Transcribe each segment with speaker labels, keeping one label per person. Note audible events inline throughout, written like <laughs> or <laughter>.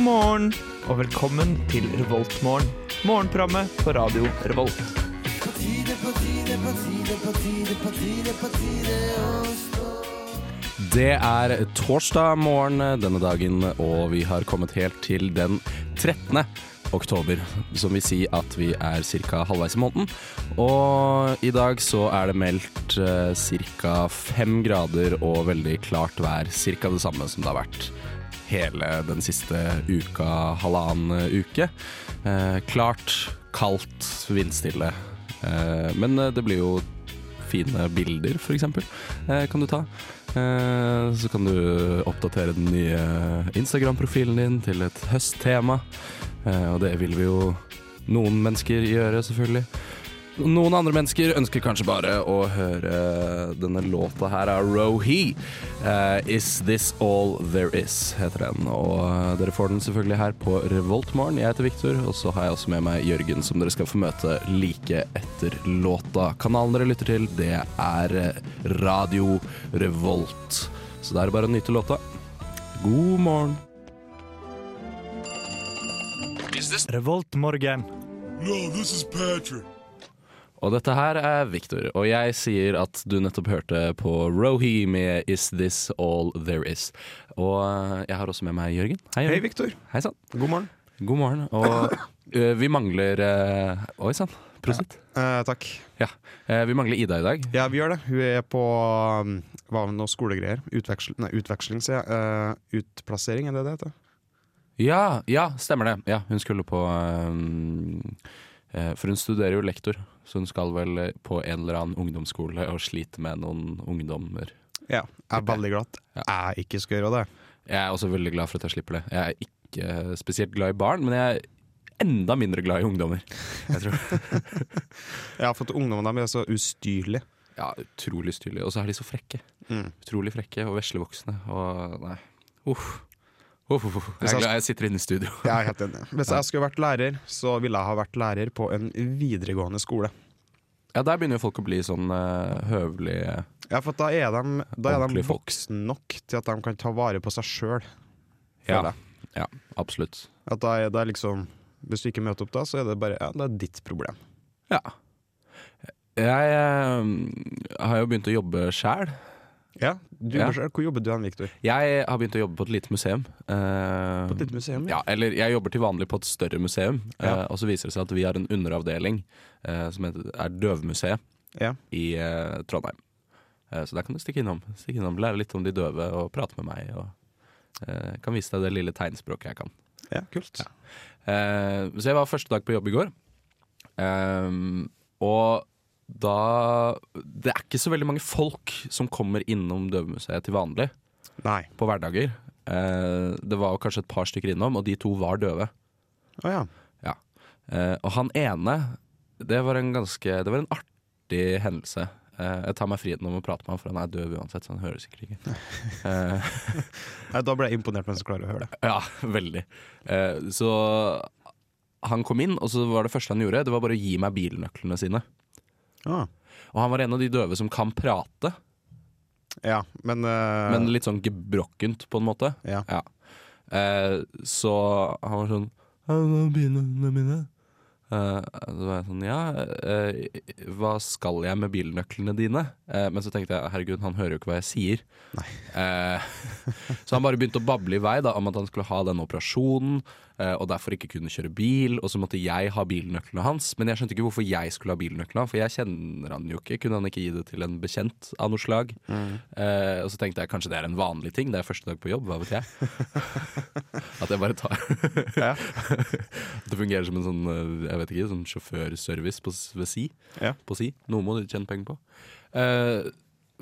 Speaker 1: morgen og velkommen til Revoltmorgen. Morgenprogrammet på radio Revolt.
Speaker 2: Det er torsdag morgen denne dagen, og vi har kommet helt til den 13. oktober. Som vil si at vi er ca. halvveis i måneden. Og i dag så er det meldt ca. fem grader og veldig klart vær. Ca. det samme som det har vært hele den siste uka, halvannen uke. Eh, klart, kaldt, vindstille. Eh, men det blir jo fine bilder, f.eks. Eh, kan du ta. Eh, så kan du oppdatere den nye Instagram-profilen din til et høsttema. Eh, og det vil vi jo noen mennesker gjøre, selvfølgelig. Noen andre mennesker ønsker kanskje bare å høre denne låta her av Rohi. Eh, 'Is This All There Is' heter den. Og eh, dere får den selvfølgelig her på Revoltmorgen. Jeg heter Viktor, og så har jeg også med meg Jørgen, som dere skal få møte like etter låta. Kanalen dere lytter til, det er eh, Radio Revolt. Så da er det bare å nyte låta. God morgen.
Speaker 1: Revoltmorgen.
Speaker 2: Og dette her er Victor, og jeg sier at du nettopp hørte på Rohi med 'Is This All There Is'. Og eh, jeg har også med meg Jørgen. Hei,
Speaker 1: Hei,
Speaker 2: Jørgen.
Speaker 1: Viktor.
Speaker 2: Hei sann.
Speaker 3: God morgen.
Speaker 2: God morgen. <coughs> Og eh, vi mangler eh, Oi sann, prosit.
Speaker 3: Eh, takk.
Speaker 2: Ja. Eh, vi mangler Ida i dag.
Speaker 3: Ja, vi gjør det. Hun er på um, hva med noe skolegreier. Utveksl nei, utveksling, sier jeg. Eh, utplassering, er det det heter?
Speaker 2: Ja, ja, stemmer det. Ja, hun skulle på eh, eh, For hun studerer jo lektor, så hun skal vel eh, på en eller annen ungdomsskole og slite med noen ungdommer.
Speaker 3: Ja. Jeg er veldig glad at jeg ikke skal gjøre det.
Speaker 2: Jeg er også veldig glad for at jeg slipper det. Jeg er ikke eh, spesielt glad i barn, men jeg er enda mindre glad i ungdommer. Jeg tror.
Speaker 3: Ja, for at ungdommene dem er så ustyrlige.
Speaker 2: Ja, utrolig styrlig. Og så er de så frekke.
Speaker 3: Mm.
Speaker 2: Utrolig frekke og veslevoksne. Og nei, uff. Uff, uff, uff. Jeg er glad jeg sitter inne i studio.
Speaker 3: Jeg er helt enig. Hvis jeg skulle vært lærer, så ville jeg ha vært lærer på en videregående skole.
Speaker 2: Ja, der begynner jo folk å bli sånn eh, høvelige
Speaker 3: Ja, for at da er de, da er de
Speaker 2: Ordentlige folk.
Speaker 3: voksne nok til at de kan ta vare på seg sjøl.
Speaker 2: Ja. ja, absolutt.
Speaker 3: At da er det liksom Hvis du ikke møter opp da, så er det bare ja, det er ditt problem.
Speaker 2: Ja. Jeg eh, har jo begynt å jobbe sjæl.
Speaker 3: Ja, du
Speaker 2: Ja.
Speaker 3: jobber selv. Hvor jobber du hen, Viktor?
Speaker 2: Jeg har begynt å jobbe på et lite museum. Uh,
Speaker 3: På et lite museum?
Speaker 2: Ja, eller jeg jobber til vanlig på et større museum,
Speaker 3: Hm. Ja.
Speaker 2: eh, og så viser det seg at vi har en underavdeling eh, som heter, er Døvmuseet
Speaker 3: Ja.
Speaker 2: i eh, Trondheim. Eh, så der kan du stikke innom, stikke innom, lære litt om de døve og prate med meg. Og, eh, kan vise deg det lille tegnspråket jeg kan.
Speaker 3: Ja, kult.
Speaker 2: Eh, så jeg var første dag på jobb i går. Ehm, og da Det er ikke så veldig mange folk som kommer innom Døvemuseet til vanlig
Speaker 3: Nei.
Speaker 2: på hverdager. Eh, det var kanskje et par stykker innom, og de to var døve.
Speaker 3: Å ja.
Speaker 2: Ja. Eh, og han ene, det var en ganske Det var en artig hendelse. Eh, jeg tar meg friheten om å prate med han, for han er døv uansett, så han hører sikkert ikke. Eh,
Speaker 3: Nei, Da ble jeg imponert mens jeg klarer å høre det.
Speaker 2: ja, veldig. Eh, så han kom inn, og så var det første han gjorde, det var bare å gi meg bilnøklene sine.
Speaker 3: Ah.
Speaker 2: Og han var en av de døve som kan prate,
Speaker 3: Ja, men, eh,
Speaker 2: men litt sånn gebrokkent, på en måte.
Speaker 3: ja.
Speaker 2: Ja. Eh, så han var sånn «Ja, Hva er bilene mine? Eh, så var jeg sånn Ja, eh, hva skal jeg med bilnøklene dine? Eh, men så tenkte jeg herregud, han hører jo ikke hva jeg sier. Eh, så han bare begynte å bable i vei da, om at han skulle ha den operasjonen, eh, og derfor ikke kunne kjøre bil. Og så måtte jeg ha bilnøklene hans. Men jeg skjønte ikke hvorfor jeg skulle ha bilnøklene, for jeg kjenner han jo ikke. Kunne han ikke gi det til en bekjent av noe slag? Eh, og så tenkte jeg kanskje det er en vanlig ting, det er første dag på jobb, hva vet jeg. At jeg bare tar <laughs>
Speaker 3: Ja.
Speaker 2: At det fungerer som en sånn eh, jeg vet ikke, sånn sjåførservice på, s- ved si.
Speaker 3: Ja.
Speaker 2: på si. Noe må du tjene penger på. Eh,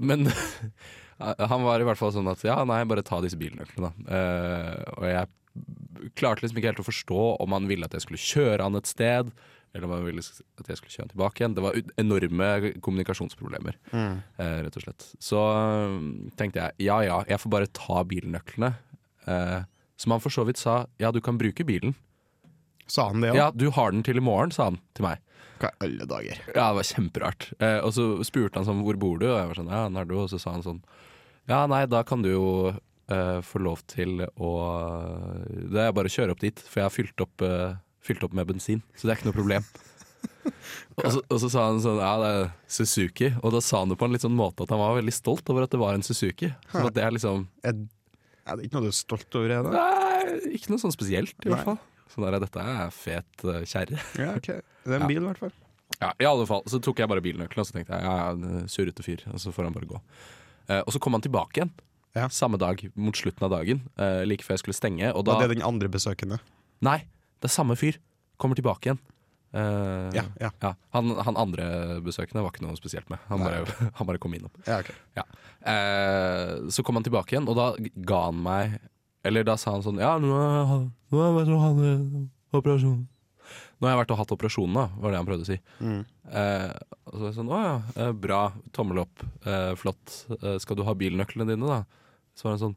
Speaker 2: men <laughs> han var i hvert fall sånn at ja, nei, bare ta disse bilnøklene, da. Eh, og jeg klarte liksom ikke helt å forstå om han ville at jeg skulle kjøre han et sted, eller om han ville at jeg skulle kjøre han tilbake igjen. Det var ut- enorme kommunikasjonsproblemer, eh, rett og slett. Så eh, tenkte jeg ja ja, jeg får bare ta bilnøklene. Eh, som han for så vidt sa ja, du kan bruke bilen.
Speaker 3: Sa han det òg?
Speaker 2: Ja, du har den til i morgen, sa han til meg.
Speaker 3: Hva i alle dager?
Speaker 2: Ja, det var kjemperart. Eh, og så spurte han sånn, hvor bor du? Og jeg var sånn, ja, Nardo. Og så sa han sånn, ja, nei, da kan du jo eh, få lov til å Det er bare å kjøre opp dit, for jeg har fylt opp, eh, fylt opp med bensin. Så det er ikke noe problem. og, så, og så sa han sånn Ja, det er Suzuki. Og da sa han det på en litt sånn måte at han var veldig stolt over at det var en Suzuki. Så at det er liksom
Speaker 3: Er, er det ikke noe du er stolt over? Er det?
Speaker 2: Nei, ikke noe sånn spesielt, i
Speaker 3: Nei.
Speaker 2: hvert fall. Sånn der, Dette er fet eh, kjerre.
Speaker 3: Ja, ok. Det er en
Speaker 2: Ja.
Speaker 3: bil, i hvert fall.
Speaker 2: Ja, I alle fall så tok jeg bare bilnøkkelen og så tenkte jeg, ja, ja, en eh, surrete fyr. Og så får han bare gå. Eh, og så kom han tilbake igjen
Speaker 3: Ja.
Speaker 2: samme dag, mot slutten av dagen, eh, like før jeg skulle stenge. Og da
Speaker 3: Og det er den andre besøkende.
Speaker 2: Nei, det er samme fyr. Kommer tilbake igjen. Eh,
Speaker 3: Ja, ja.
Speaker 2: han, han andre besøkende var ikke noe spesielt med. Han
Speaker 3: Nei.
Speaker 2: bare, <laughs> han bare kom innom.
Speaker 3: Ja, ok.
Speaker 2: Ja. Eh, så kom han tilbake igjen, og da ga han meg Eller da sa han sånn Ja, nå har jeg, nå har jeg vært og hatt eh, operasjon. Nå har jeg vært og hatt operasjonen, da, var det han prøvde å si.
Speaker 3: Mm.
Speaker 2: Eh, og så var jeg sånn Å ja, eh, bra. Tommel opp. Eh, flott. Eh, skal du ha bilnøklene dine, da? Så var han sånn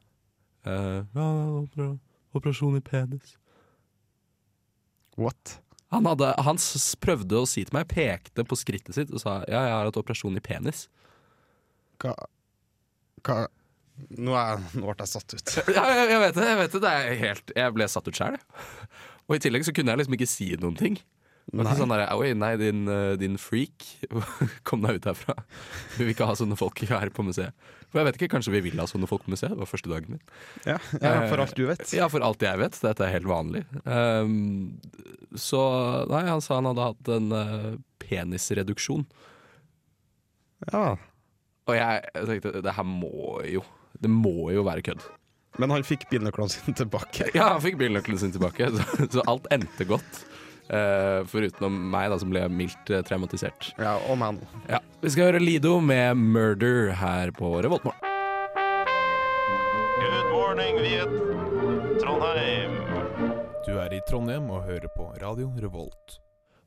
Speaker 2: eh, Ja, opera, operasjon i penis.
Speaker 3: What?
Speaker 2: Han, hadde, han s- prøvde å si til meg, pekte på skrittet sitt og sa ja, jeg har hatt operasjon i penis.
Speaker 3: Hva Hva Nå, er, nå ble jeg satt ut.
Speaker 2: Ja, jeg, jeg vet det. Jeg vet det, det er helt, jeg ble satt ut sjæl. Og i tillegg så kunne jeg liksom ikke si noen ting. Det var
Speaker 3: Nei.
Speaker 2: ikke sånn der, Oi, nei, din, eh, din freak. <laughs> Kom deg ut herfra. Vi vil ikke ha sånne folk her på museet. For jeg vet ikke, Kanskje vi vil ha sånne folk på museet? Det var første dagen min.
Speaker 3: Ja, ja, for alt du vet.
Speaker 2: Ja, for alt jeg vet. Dette er helt vanlig. Ehm, så Nei, han sa han hadde hatt en eh, penisreduksjon.
Speaker 3: Ja.
Speaker 2: Og jeg, jeg tenkte det her må jo Det må jo være kødd.
Speaker 3: Men han fikk bilnøklene sine tilbake.
Speaker 2: <laughs> Ja, han fikk bilnøkkelen sin tilbake, så, så alt endte godt. Eh, foruten meg, da, som ble mildt eh, traumatisert.
Speaker 3: Ja, og meg nå.
Speaker 2: Ja. Vi skal høre Lido med 'Murder' her på Revoltmorgen.
Speaker 4: Good morning, Viet Trondheim.
Speaker 5: Du er i Trondheim og hører på Radio Revolt.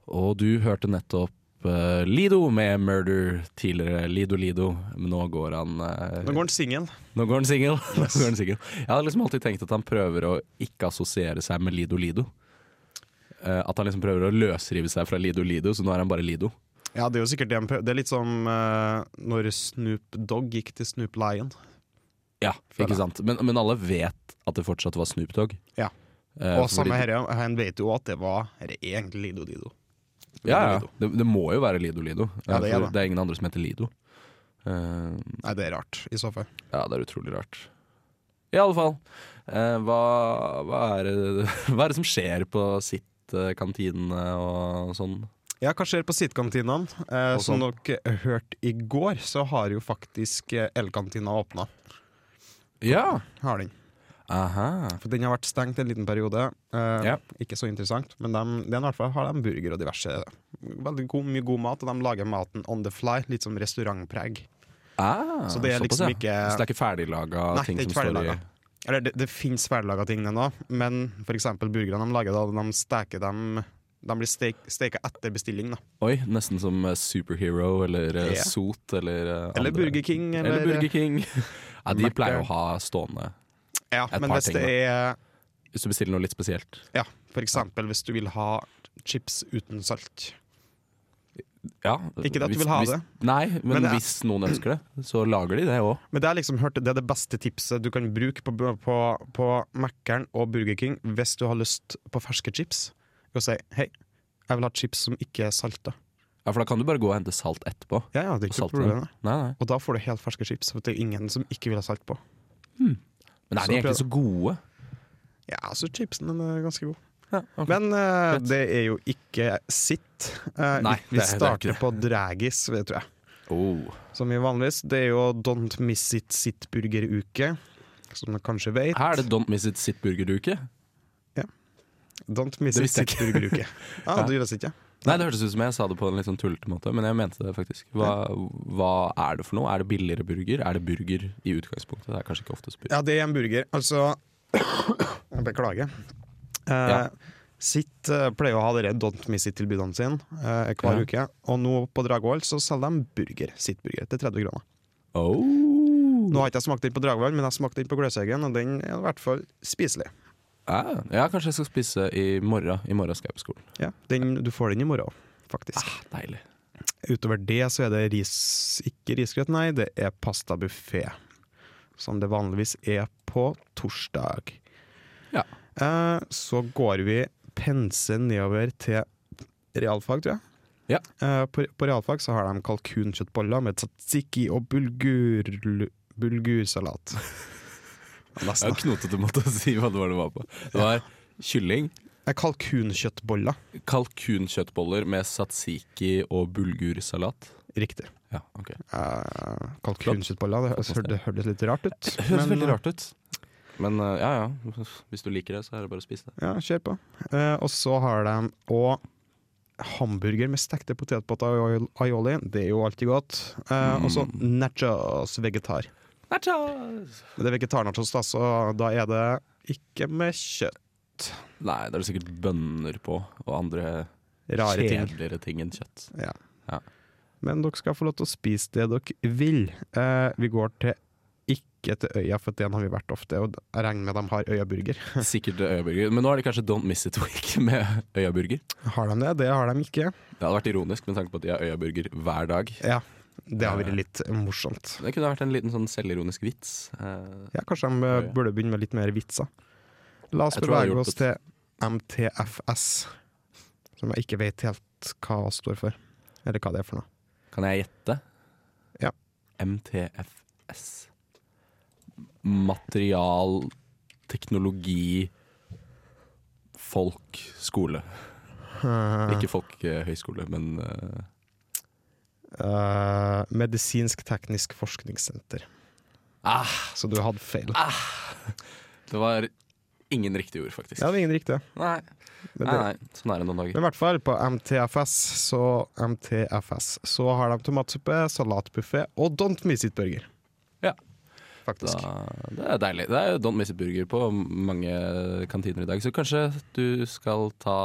Speaker 2: Og du hørte nettopp eh, Lido med 'Murder' tidligere. Lido Lido, men nå går han eh,
Speaker 3: Nå går han singel.
Speaker 2: Nå går han singel. <laughs> Nå går han singel. Jeg hadde liksom alltid tenkt at han prøver å ikke assosiere seg med Lido Lido. Eh, at han liksom prøver å løsrive seg fra Lido Lido, så nå er han bare Lido.
Speaker 3: Ja, det er jo sikkert det han prøver. Det er litt som eh, når Snoop Dogg gikk til Snoop Lion.
Speaker 2: Ja,
Speaker 3: Føler
Speaker 2: ikke sant? Men, men alle vet at det fortsatt var Snoop Dogg.
Speaker 3: Ja.
Speaker 2: Eh,
Speaker 3: Og
Speaker 2: fordi-
Speaker 3: samme her, ja. han vet jo at det var her er egentlig Lido Dido. Lido
Speaker 2: Ja, ja.
Speaker 3: Dido.
Speaker 2: Det, det må jo være Lido Lido.
Speaker 3: Ja,
Speaker 2: Eh,
Speaker 3: det er
Speaker 2: for
Speaker 3: det.
Speaker 2: det er ingen andre som heter Lido. Eh,
Speaker 3: Nei, det er rart, i så fall.
Speaker 2: ja, det er utrolig rart. I alle fall, eh, hva, hva, er det, <laughs> hva er det som skjer på sitt eh, kantinene og sånn?
Speaker 3: Ja, hva skjer på sittkantinene? Eh,
Speaker 2: Og
Speaker 3: som dere hørte i går, så har jo faktisk eh, Elkantina åpna.
Speaker 2: Ja!
Speaker 3: Har den.
Speaker 2: Aha.
Speaker 3: For den har vært stengt en liten periode. Eh,
Speaker 2: Ja.
Speaker 3: Ikke så interessant, men dem- den i hvert fall har de burger og diverse. Veldig god, mye god mat, og de lager maten on the fly, litt som restaurantpreg.
Speaker 2: Ah,
Speaker 3: Så det er
Speaker 2: såpass,
Speaker 3: liksom
Speaker 2: ja.
Speaker 3: ikke-
Speaker 2: Så det er ikke ferdiglaga
Speaker 3: Nei,
Speaker 2: ting
Speaker 3: det er
Speaker 2: som
Speaker 3: ikke
Speaker 2: står i
Speaker 3: ferdiglaga. Eller det, det fins ferdiglaga ting ennå, men f.eks. burgerne de lager da, de steker dem De blir steik, steka etter bestilling, da.
Speaker 2: Oi, nesten som eh, Superhero eller eh,
Speaker 3: Ja.
Speaker 2: Sot eller eh,
Speaker 3: Eller
Speaker 2: andre-
Speaker 3: Burger King,
Speaker 2: Eller,
Speaker 3: eller- eh,
Speaker 2: Burger
Speaker 3: <laughs>
Speaker 2: King. ja, de
Speaker 3: Mac-
Speaker 2: pleier å ha stående
Speaker 3: Ja,
Speaker 2: Et
Speaker 3: men
Speaker 2: par
Speaker 3: hvis
Speaker 2: ting,
Speaker 3: det er
Speaker 2: Hvis du bestiller noe litt spesielt.
Speaker 3: Ja, f.eks. hvis du vil ha chips uten salt.
Speaker 2: Ja,
Speaker 3: Ikke det at
Speaker 2: hvis-
Speaker 3: du vil ha
Speaker 2: hvis,
Speaker 3: det.
Speaker 2: Nei, men,
Speaker 3: Men det er-
Speaker 2: hvis noen ønsker det, så lager de det òg.
Speaker 3: Men det er liksom hørt, det er det beste tipset du kan bruke på, på, på Mækkern og Burger King hvis du har lyst på ferske chips. Og si 'hei, jeg vil ha chips som ikke er salta'.
Speaker 2: Ja, for da kan du bare gå og hente salt etterpå.
Speaker 3: Ja, ja, det er
Speaker 2: Og salte
Speaker 3: ikke noe problem.
Speaker 2: dem.
Speaker 3: det.
Speaker 2: Nei, nei.
Speaker 3: Og da får du helt ferske chips, for det er ingen som ikke vil ha salt på.
Speaker 2: Men er
Speaker 3: Så
Speaker 2: de
Speaker 3: prøv-
Speaker 2: egentlig så gode?
Speaker 3: Ja, så chipsen den er ganske god.
Speaker 2: Ja, ok.
Speaker 3: Men eh,
Speaker 2: Fett.
Speaker 3: det er jo ikke sitt. Eh,
Speaker 2: Nei,
Speaker 3: vi
Speaker 2: det er- det er
Speaker 3: starter
Speaker 2: ikke det.
Speaker 3: på Dragis, det tror jeg.
Speaker 2: oh.
Speaker 3: Som vi vanligvis. Det er jo Don't Miss It Sitt Burger-uke, som du kanskje vet.
Speaker 2: Her er det Don't Miss It Sitt Burger-uke.
Speaker 3: Don't Miss
Speaker 2: Det
Speaker 3: It
Speaker 2: visste jeg
Speaker 3: Sitt
Speaker 2: <laughs>
Speaker 3: Burger-uke. Ja, du visste ikke?
Speaker 2: Nei, det hørtes ut som jeg sa det på en litt sånn tullete måte, men jeg mente det faktisk. Hva, hva er det for noe? Er det billigere burger? Er det burger i utgangspunktet? Det er kanskje ikke ofte burger.
Speaker 3: Ja, det er en burger. Altså <coughs> Jeg beklager. Eh,
Speaker 2: Ja.
Speaker 3: Sitt eh, pleier å ha dere Don't Miss It-tilbudene sine eh, hver
Speaker 2: Ja.
Speaker 3: uke. Og nå på Dragvoll så selger de burger. Sitt burger til 30 kroner.
Speaker 2: Oh.
Speaker 3: Nå har ikke jeg smakt den på Dragvoll, men jeg smakte den på Gløshaugen, og den er i hvert fall spiselig.
Speaker 2: Ja, Ah, ja, kanskje jeg skal spise i morgen. I morgen skal jeg på skolen.
Speaker 3: Ja, den, du får den i morgen, faktisk.
Speaker 2: Ah, deilig.
Speaker 3: Utover det så er det ris... Ikke risgrøt, nei, det er pastabuffé. som det vanligvis er på torsdag.
Speaker 2: Ja.
Speaker 3: Eh, så går vi pense nedover til realfag, tror jeg.
Speaker 2: Ja.
Speaker 3: Eh, på, på realfag så har de kalkunkjøttboller med tzatziki og bulgur,
Speaker 2: <laughs>
Speaker 3: bulgursalat.
Speaker 2: Det er
Speaker 3: Nesten.
Speaker 2: en knotete måte å si hva det var det var på. Det var kylling,
Speaker 3: Eh, Kalkunkjøttboller.
Speaker 2: kalkunkjøttboller med satsiki og bulgursalat.
Speaker 3: Riktig.
Speaker 2: Ja, ok.
Speaker 3: Eh, kalkunkjøttboller, det, hø- det hørtes litt rart ut.
Speaker 2: Det høres veldig
Speaker 3: eh,
Speaker 2: rart ut. Men eh, ja ja, hvis du liker det, så er det bare å spise det.
Speaker 3: Ja, kjør på. Eh, og så har de òg hamburger med stekte potetbåter og aiol- aioli. Det er jo alltid godt. Eh, Og så
Speaker 2: Mm.
Speaker 3: nachos vegetar. Det er vegetarnachos, da, så da er det ikke med kjøtt.
Speaker 2: Nei, da er det sikkert bønner på, og andre
Speaker 3: Rare ting.
Speaker 2: kjedeligere ting enn kjøtt.
Speaker 3: Ja.
Speaker 2: Ja.
Speaker 3: Men dere skal få lov til å spise det dere vil. Eh, vi går til ikke til øya, for den har vi vært ofte, og jeg regner med de har øyaburger.
Speaker 2: Sikkert øyaburger. Men nå er det kanskje Don't Miss It Week med øyaburger.
Speaker 3: Har de det? Det har de ikke.
Speaker 2: Det hadde vært ironisk med tanke på at de har øyaburger hver dag.
Speaker 3: Ja, det har vært litt morsomt.
Speaker 2: Det kunne vært en liten sånn selvironisk vits. Eh,
Speaker 3: Ja, kanskje de eh, burde begynne med litt mer vitser. La oss
Speaker 2: Jeg tror jeg
Speaker 3: bevege
Speaker 2: hadde
Speaker 3: oss til MTFS, som jeg ikke vet helt hva står for. Eller hva det er for noe.
Speaker 2: Kan jeg gjette?
Speaker 3: Ja.
Speaker 2: MTFS. Material, teknologi, folk, skole. Ikke folkehøyskole, men eh,
Speaker 3: <laughs> Eh, Medisinsk-teknisk forskningssenter.
Speaker 2: Ah,
Speaker 3: Så du hadde feil.
Speaker 2: det var ingen riktige ord, faktisk.
Speaker 3: Ja, det er ingen riktige.
Speaker 2: Nei.
Speaker 3: Men,
Speaker 2: nei,
Speaker 3: det,
Speaker 2: nei, sånn er det noen
Speaker 3: men
Speaker 2: dager.
Speaker 3: i hvert fall på MTFS, så MTFS, så har de tomatsuppe, salatbuffé og Don't Miss It-burger.
Speaker 2: Ja. Da,
Speaker 3: Faktisk.
Speaker 2: det er deilig. Det er jo Don't Miss It Burger på mange kantiner i dag, så kanskje du skal ta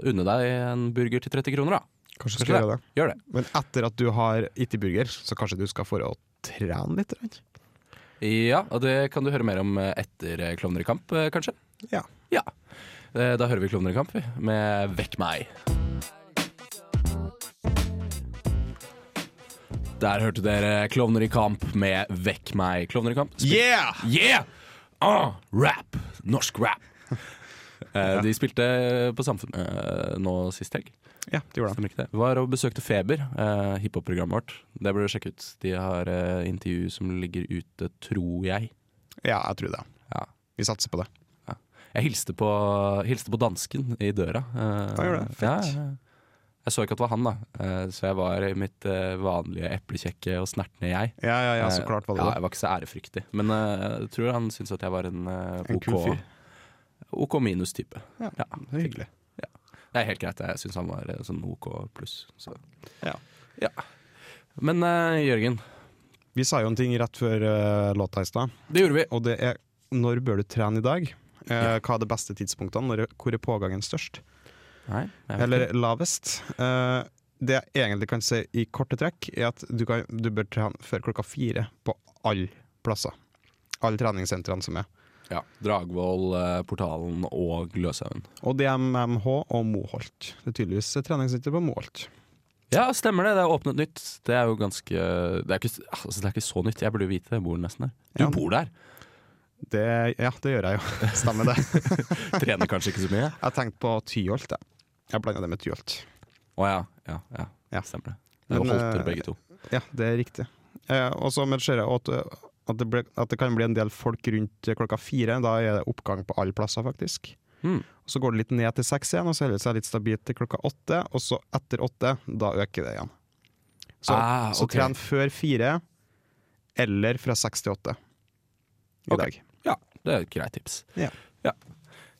Speaker 2: unne deg en burger til 30 kroner, da.
Speaker 3: Kanskje
Speaker 2: Kanskje
Speaker 3: skal gjøre det.
Speaker 2: Gjør det.
Speaker 3: Men etter at du har itti burger, så kanskje du skal få å trene litt? Eller?
Speaker 2: Ja, og det kan du høre mer om eh, etter eh, Klovner i kamp, eh, kanskje?
Speaker 3: Ja.
Speaker 2: Ja. Eh, Da hører vi Klovner i kamp vi, med Vekk meg. Der hørte dere Klovner i kamp med Vekk meg. Klovner i kamp? spil-
Speaker 3: Yeah!
Speaker 2: Yeah! Ah, rap! Norsk rap. Eh, De spilte på Samfunnet eh, nå sist helg.
Speaker 3: Ja, det gjorde de.
Speaker 2: Stemmer ikke det? Var og besøkte Feber, eh, hiphop-programmet vårt. Det burde du sjekke ut. De har eh, intervju som ligger ute, tror jeg.
Speaker 3: Ja, jeg tror det.
Speaker 2: Ja.
Speaker 3: Vi satser på det.
Speaker 2: Jeg hilste på, hilste på dansken i døra. Eh,
Speaker 3: Ja, gjorde det. Fett.
Speaker 2: ja, ja. Jeg så ikke at det var han, da. Eh, så jeg var i mitt eh, vanlige eplekjekke og snertne jeg.
Speaker 3: Ja, ja, ja, så
Speaker 2: Eh,
Speaker 3: klart var det
Speaker 2: Ja,
Speaker 3: det.
Speaker 2: jeg var ikke så ærefryktig. Men eh, jeg tror han syntes at jeg var en, eh,
Speaker 3: En
Speaker 2: OK,
Speaker 3: kul fyr.
Speaker 2: OK minus-type.
Speaker 3: Ja, Det er hyggelig.
Speaker 2: Det er helt greit. Jeg syns han var eh, sånn OK pluss. Så.
Speaker 3: Ja.
Speaker 2: Ja. Men eh, Jørgen,
Speaker 3: Vi sa jo en ting rett før eh, låta i stad,
Speaker 2: det gjorde vi.
Speaker 3: og det er når bør du trene i dag? Eh, hva er de beste tidspunktene? Når, hvor er pågangen størst?
Speaker 2: Nei, jeg vet
Speaker 3: Eller
Speaker 2: ikke.
Speaker 3: lavest? Eh, det jeg egentlig kan si i korte trekk, er at du, kan, du bør trene før klokka fire på alle plasser. Alle treningssentrene som er.
Speaker 2: ja, Dragvoll, eh, Portalen og Gløshaugen.
Speaker 3: Og DMMH og Moholt. Det er tydeligvis et treningssenter på Moholt.
Speaker 2: Ja, stemmer det. Det er åpnet nytt. Det er jo ganske Det er ikke, altså, det er ikke så nytt. Jeg burde jo vite det. Jeg bor nesten der. Du
Speaker 3: Ja.
Speaker 2: bor
Speaker 3: <laughs>
Speaker 2: der.
Speaker 3: Det, ja, det gjør
Speaker 2: <laughs>
Speaker 3: jeg jo. Stemmer det.
Speaker 2: Trener kanskje ikke så mye.
Speaker 3: Jeg tenkte på Tyholt, jeg. Jeg blanda det med Tyholt.
Speaker 2: Å ja. Ja, ja.
Speaker 3: Ja.
Speaker 2: Stemmer det. Det
Speaker 3: Men,
Speaker 2: var Holter,
Speaker 3: eh,
Speaker 2: begge to.
Speaker 3: Ja, det er riktig. Eh, og så men ser jeg at, at, det ble, at det kan bli en del folk rundt klokka fire. Da er det oppgang på alle plasser, faktisk.
Speaker 2: Mm.
Speaker 3: Og Så går det litt ned til seks igjen, og så holder det seg litt stabilt til klokka åtte. Og så etter åtte, da øker det igjen. Så,
Speaker 2: Ah,
Speaker 3: så
Speaker 2: ok.
Speaker 3: tren før fire, eller fra seks til åtte i
Speaker 2: Ok.
Speaker 3: dag.
Speaker 2: Ja, det er et greit tips.
Speaker 3: Ja.
Speaker 2: Ja.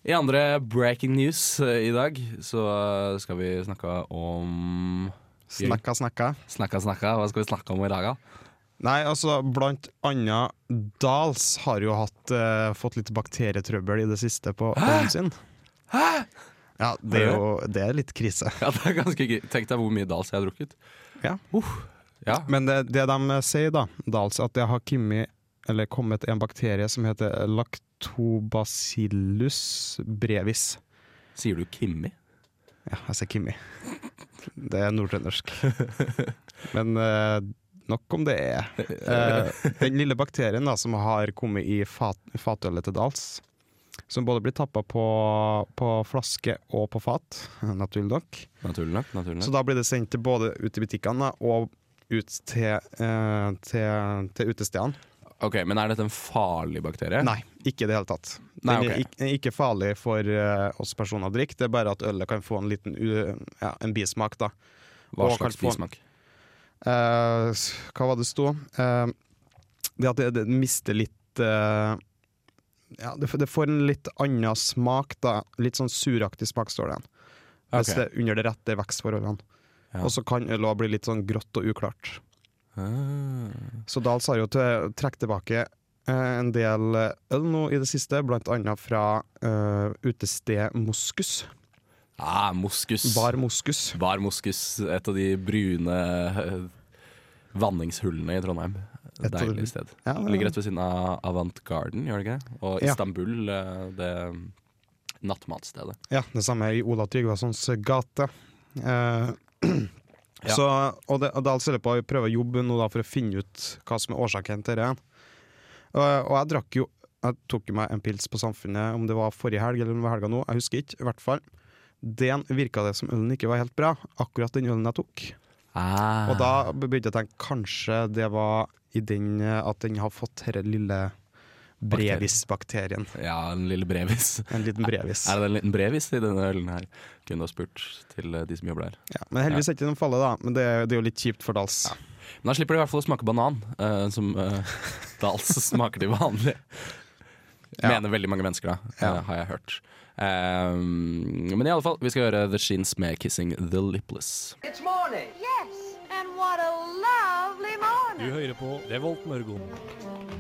Speaker 2: I andre breaking news eh, i dag så eh, skal vi snakke om
Speaker 3: Snakka, snakka.
Speaker 2: Snakka, snakka. Hva skal vi snakke om i dag, da? <laughs>
Speaker 3: Nei, altså blant annet Dals har jo hatt, eh, fått litt bakterietrøbbel i det siste på ovnen sin. Ja, det er jo det er litt krise.
Speaker 2: Ja, det er ganske gøy. Tenk deg hvor mye Dals jeg har drukket.
Speaker 3: Ja.
Speaker 2: Uff. ja.
Speaker 3: Men det, det de eh, sier da, Dals, at det har kommet, eller kommet en bakterie som heter lactobacillus brevis.
Speaker 2: Sier du Kimmi? <laughs>
Speaker 3: Ja, jeg sier Kimi. Det er nordtrøndersk. Men eh, Nok om det er eh, den lille bakterien da, som har kommet i fat, fatølet til Dals, som både blir tappa på, på flaske og på fat, <laughs> naturlig nok.
Speaker 2: Naturlig nok. naturlig
Speaker 3: Så
Speaker 2: nok.
Speaker 3: da blir det sendt til både ut i butikkene da, og ut til, eh, til, til utestedene.
Speaker 2: Ok, Men er dette en farlig bakterie?
Speaker 3: Nei, ikke i det hele tatt. Den
Speaker 2: Nei,
Speaker 3: er
Speaker 2: ok.
Speaker 3: ikke, ikke farlig for eh, oss personer å drikke, det er bare at ølet kan få en liten u- ja, en bismak, da.
Speaker 2: Hva
Speaker 3: Og
Speaker 2: slags
Speaker 3: kan få-
Speaker 2: bismak?
Speaker 3: Eh, s- hva var det sto? Eh, det at det, det mister litt eh, ja, det, f- det får en litt annen smak, da. Litt sånn suraktig smak, står det igjen. Hvis
Speaker 2: Ok.
Speaker 3: det er under det rette vekstforholdene.
Speaker 2: Ja.
Speaker 3: Og så kan øl også bli litt sånn grått og uklart.
Speaker 2: Ah.
Speaker 3: Så Dahls har jo til- trukket tilbake eh, en del øl nå i det siste, blant annet fra eh, utestedet Moskus.
Speaker 2: Ah, moskus.
Speaker 3: Bar Moskus.
Speaker 2: Bar moskus. Et av de brune eh, vanningshullene i Trondheim.
Speaker 3: Et av de-
Speaker 2: Deilig sted.
Speaker 3: Ja,
Speaker 2: Det Ligger rett ved siden av Avant Garden, gjør det ikke? det? Og
Speaker 3: Ja.
Speaker 2: Istanbul, eh, det nattmatstedet.
Speaker 3: Ja, det samme i Ola Tryggvasons gate. Eh, <clears throat>
Speaker 2: Ja.
Speaker 3: Så, og det, og det er altså det på å prøve å jobbe nå da for å finne ut hva som er årsaken til det. Og, og jeg drakk jo Jeg tok jo meg en pils på Samfunnet, om det var forrige helg eller om det var helga nå, jeg husker ikke. I hvert fall. Den virka det som ølen ikke var helt bra, akkurat den ølen jeg tok.
Speaker 2: Ah.
Speaker 3: Og da begynte jeg å tenke kanskje det var i den eh, at den har fått denne lille
Speaker 2: Bakterien.
Speaker 3: brevis-bakterien.
Speaker 2: Ja, en lille brevis.
Speaker 3: En liten brevis.
Speaker 2: Er det en liten brevis i denne ølen her? Kunne du ha spurt til eh, de som jobber der.
Speaker 3: Ja, men heldigvis er det ikke noen falle, da. Men det, er- det er jo litt kjipt for Dals.
Speaker 2: Men da slipper de i hvert fall å smake banan, eh, som eh, da altså <laughs> smaker til vanlig.
Speaker 3: Ja.
Speaker 2: Mener veldig mange mennesker, da, eh,
Speaker 3: Ja.
Speaker 2: har jeg hørt. Ehm, men i alle fall, vi skal høre The Sheens med 'Kissing The Lipless'.
Speaker 6: It's morning. Yes, and what a lovely morning.
Speaker 5: Du hører på Revolt Mørgon.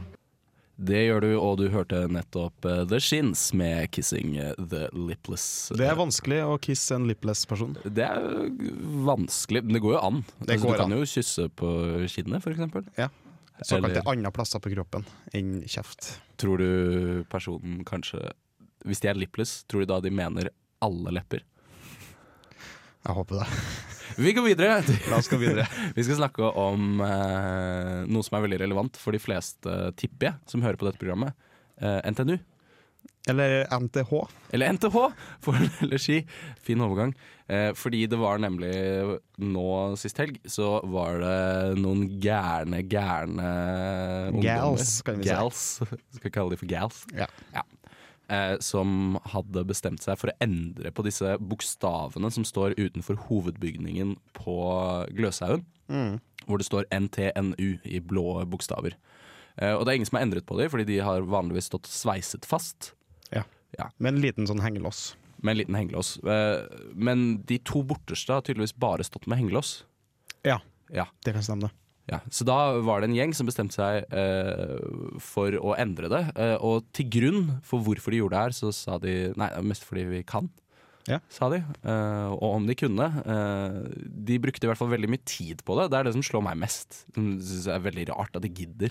Speaker 2: Det gjør du, og du hørte nettopp eh, The Sheens med 'Kissing eh, The Lipless'. Eh,
Speaker 3: Det er vanskelig å kisse en lipless person.
Speaker 2: Det er jo vanskelig, men det går jo an. Altså,
Speaker 3: Det går
Speaker 2: du kan
Speaker 3: an.
Speaker 2: jo kysse på kinnet, for eksempel.
Speaker 3: Ja. Såkalte
Speaker 2: Eller-
Speaker 3: andre plasser på kroppen enn kjeft.
Speaker 2: Tror du personen kanskje Hvis de er lipless, tror du da de mener alle lepper?
Speaker 3: Jeg håper det.
Speaker 2: Vi går videre!
Speaker 3: <laughs> La oss gå videre.
Speaker 2: <laughs> Vi skal snakke om eh, noe som er veldig relevant for de fleste, tipper jeg, som hører på dette programmet. Eh, NTNU.
Speaker 3: Eller NTH.
Speaker 2: Eller NTH, for <laughs> eller ski. Fin overgang. Eh, fordi det var nemlig nå sist helg, så var det noen gærne, gærne ungdommer.
Speaker 3: Gals, kan vi si.
Speaker 2: gals. Skal vi kalle de for gals?
Speaker 3: Ja.
Speaker 2: Eh, som hadde bestemt seg for å endre på disse bokstavene som står utenfor hovedbygningen på Gløshaugen. Hvor det står NTNU i blå bokstaver. Eh, og det er ingen som har endret på dem, fordi de har vanligvis stått sveiset fast
Speaker 3: Med en liten sånn hengelås.
Speaker 2: med en liten hengelås. Eh, Men de to borteste har tydeligvis bare stått med hengelås.
Speaker 3: Ja,
Speaker 2: Ja,
Speaker 3: det kan stemme, det.
Speaker 2: ja. Så da var det en gjeng som bestemte seg eh, for å endre det. Eh, og til grunn for hvorfor de gjorde det her, så sa de Nei, det er mest fordi vi kan,
Speaker 3: Ja.
Speaker 2: sa de. Eh, og om de kunne. eh, de brukte i hvert fall veldig mye tid på det. Det er det som slår meg mest. Som jeg synes er veldig rart at de gidder.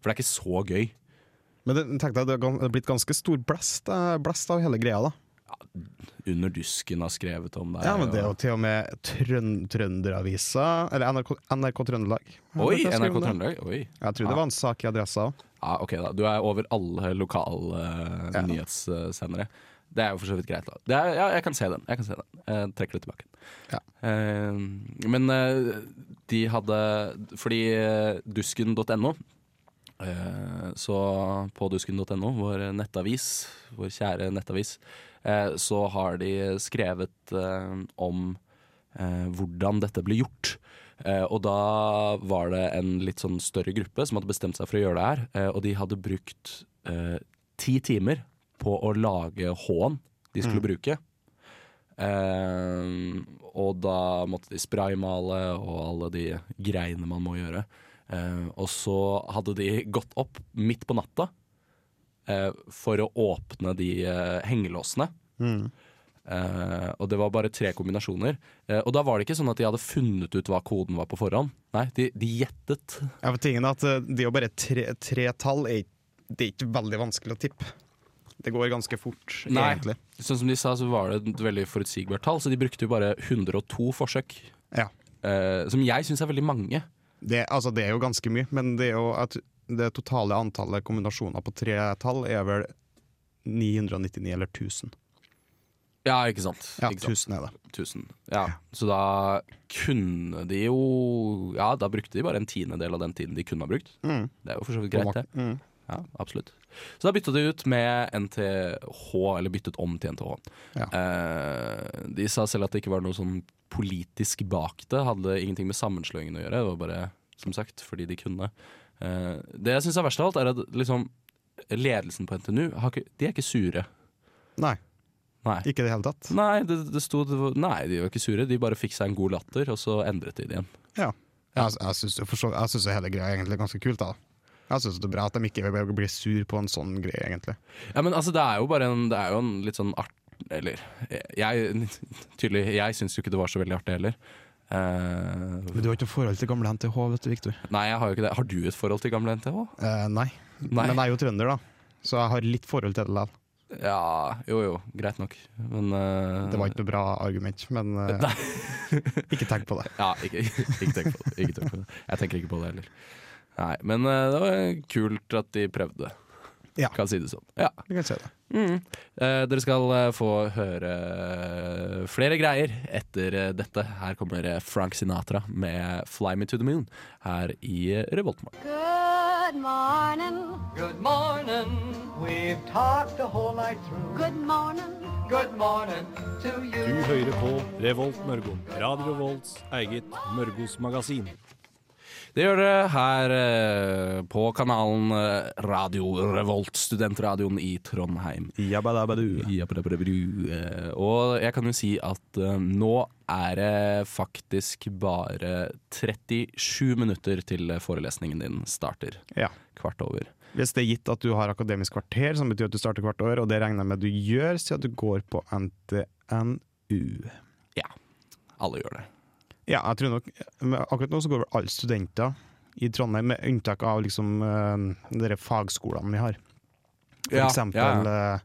Speaker 2: For det er ikke så gøy.
Speaker 3: Men det, tenk deg, det er gan- det er blitt ganske stor blest, eh, blest av hele greia, da.
Speaker 2: Under dusken har skrevet om det.
Speaker 3: Ja, men det er
Speaker 2: og-
Speaker 3: jo til og med Trøn Trønderavisa, eller NRK, NRK Trøndelag.
Speaker 2: Oi,
Speaker 3: Jeg tror
Speaker 2: NRK
Speaker 3: det.
Speaker 2: Trøndelag. Oi.
Speaker 3: Jeg tror det var en sak i Adressa òg.
Speaker 2: Ja, Ah, ok da. Du er over alle lokale eh,
Speaker 3: Ja.
Speaker 2: nyhetssendere. Det er jo for så vidt greit, da. Det er, ja, jeg kan se den. Jeg kan se den. Eh, trekker det tilbake.
Speaker 3: Ja.
Speaker 2: Eh, men eh, de hadde Fordi eh, dusken.no eh, Så på dusken.no, vår nettavis, vår kjære nettavis, eh, så har de skrevet eh, om eh, hvordan dette ble gjort. Eh, og da var det en litt sånn større gruppe som hadde bestemt seg for å gjøre det her. Eh, og de hadde brukt eh, ti timer på å lage H-en de skulle bruke. Eh, og da måtte de spraymale og alle de greiene man må gjøre. Eh, og så hadde de gått opp midt på natta eh, for å åpne de eh, hengelåsene. Eh, og det var bare tre kombinasjoner. Eh, og da var det ikke sånn at de hadde funnet ut hva koden var på forhånd. Nei, de, de gjettet.
Speaker 3: Ja, for tingen er at eh, det er jo bare tre, tre tall. Er, ikke- det er ikke veldig vanskelig å tippe. Det går ganske fort,
Speaker 2: Nei.
Speaker 3: egentlig.
Speaker 2: Sånn som de sa, så var det et veldig forutsigbart tall, så de brukte jo bare 102 forsøk.
Speaker 3: Ja.
Speaker 2: Eh, som jeg syns er veldig mange.
Speaker 3: Det, altså, det er jo ganske mye, men det, er jo at det totale antallet kombinasjoner på tre tall er vel 999 eller 1000.
Speaker 2: Ja, ikke sant.
Speaker 3: Ja,
Speaker 2: ikke sant.
Speaker 3: 1000 er det.
Speaker 2: 1000. Ja. Så da kunne de jo Ja, da brukte de bare en tiendedel av den tiden de kunne ha brukt.
Speaker 3: Mm.
Speaker 2: Det er jo for så vidt greit, det.
Speaker 3: Mm.
Speaker 2: Ja, absolutt. Så da bytta de ut med NTH, eller byttet om til NTH.
Speaker 3: Ja.
Speaker 2: Eh, de sa selv at det ikke var noe sånn politisk bak det. Hadde ingenting med sammenslåingen å gjøre. Det var bare, som sagt, fordi de kunne. Eh, det jeg syns er verst av alt, er at liksom, ledelsen på NTNU har ikke, de er ikke sure.
Speaker 3: Nei,
Speaker 2: Nei.
Speaker 3: ikke i det hele tatt.
Speaker 2: Nei, det, det sto, det var, nei, de var ikke sure. De bare fikk seg en god latter, og så endret de det igjen.
Speaker 3: Ja. Jeg, jeg syns jo for så- jeg syns jo hele greia er egentlig ganske kult, da. Jeg syns det er bra at de ikke blir sur på en sånn greie, egentlig.
Speaker 2: Ja, men altså, det er jo bare en, det er jo en litt sånn art... Eller jeg, tydelig, jeg syns jo ikke det var så veldig artig heller. Eh,
Speaker 3: Men du har ikke noe forhold til gamle NTH, vet du, Viktor.
Speaker 2: nei, jeg har jo ikke det. Har du et forhold til gamle NTH?
Speaker 3: Eh, nei.
Speaker 2: Nei.
Speaker 3: Men jeg er jo trønder, da. Så jeg har litt forhold til det likevel.
Speaker 2: Ja, jo jo, greit nok. Men eh,
Speaker 3: Det var ikke noe bra argument, men
Speaker 2: <laughs>
Speaker 3: eh, ikke tenk på det.
Speaker 2: Ja, ikke, ikke tenk på det. Ikke tenk på det. Jeg tenker ikke på det heller. Nei, men eh, det var kult at de prøvde.
Speaker 3: Ja.
Speaker 2: Kan si det sånn. <laughs> Ja.
Speaker 3: Du kan si det.
Speaker 2: Eh, dere skal eh, få høre flere greier etter eh, dette. Her kommer eh, Frank Sinatra med 'Fly Me To The Moon' her i Revoltmorgen.
Speaker 6: Good morning.
Speaker 7: Good morning. We've talked the whole night through.
Speaker 6: Good morning.
Speaker 7: Good morning to
Speaker 8: Du
Speaker 7: you.
Speaker 8: hører på Revolt Mørgo. Radio Revolts eget Mørgos magasin.
Speaker 2: Det gjør dere her eh, på kanalen eh, Radio Revolt, studentradioen i Trondheim. Jabbadabadu. Eh, Og jeg kan jo si at eh, nå er det faktisk bare 37 minutter til forelesningen din starter.
Speaker 3: Ja.
Speaker 2: Kvart over.
Speaker 3: Hvis det er gitt at du har akademisk kvarter, som betyr at du starter hvert år, og det regner jeg med du gjør, siden du går på NTNU.
Speaker 2: Ja. Alle gjør det.
Speaker 3: Ja, jeg tror nok men Akkurat nå så går vel alle studenter i Trondheim, med unntak av liksom eh, dere fagskolene vi har. For
Speaker 2: Ja,
Speaker 3: eksempel eh,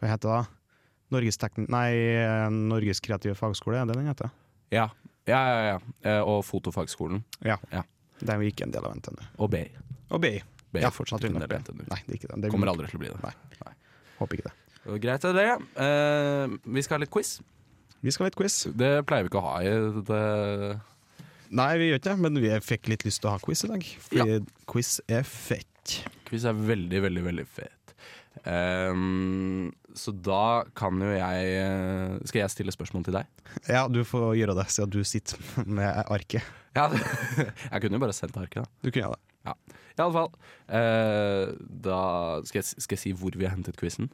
Speaker 3: Hva heter det? da? Norges, tekn nei, eh, Norges kreative fagskole, er det den heter?
Speaker 2: Ja, ja, ja, ja. Eh, Og fotofagskolen.
Speaker 3: Ja.
Speaker 2: Ja.
Speaker 3: Den vi ikke en del av NTNU.
Speaker 2: Og BI.
Speaker 3: Og BI.
Speaker 2: BI
Speaker 3: Ja,
Speaker 2: er fortsatt ikke en del av NTNU.
Speaker 3: Nei, det er ikke den. Det
Speaker 2: Kommer aldri til å bli det.
Speaker 3: Nei.
Speaker 2: Nei.
Speaker 3: Håper ikke det.
Speaker 2: Og Greit er det. Eh, vi skal ha litt quiz.
Speaker 3: Vi skal ha litt quiz.
Speaker 2: Det pleier vi ikke å ha i det
Speaker 3: Nei, vi gjør ikke det, men vi fikk litt lyst til å ha quiz i dag. Fordi quiz er fett.
Speaker 2: Quiz er veldig, veldig, veldig fet. Ehm, så da kan jo jeg eh, Skal jeg stille spørsmål til deg?
Speaker 3: Ja, du får gjøre det, siden du sitter med arket.
Speaker 2: Ja, <laughs> jeg kunne jo bare sendt arket, da.
Speaker 3: Du kunne gjøre det.
Speaker 2: Ja. I alle fall. eh, da skal jeg, skal jeg si hvor vi har hentet quizen.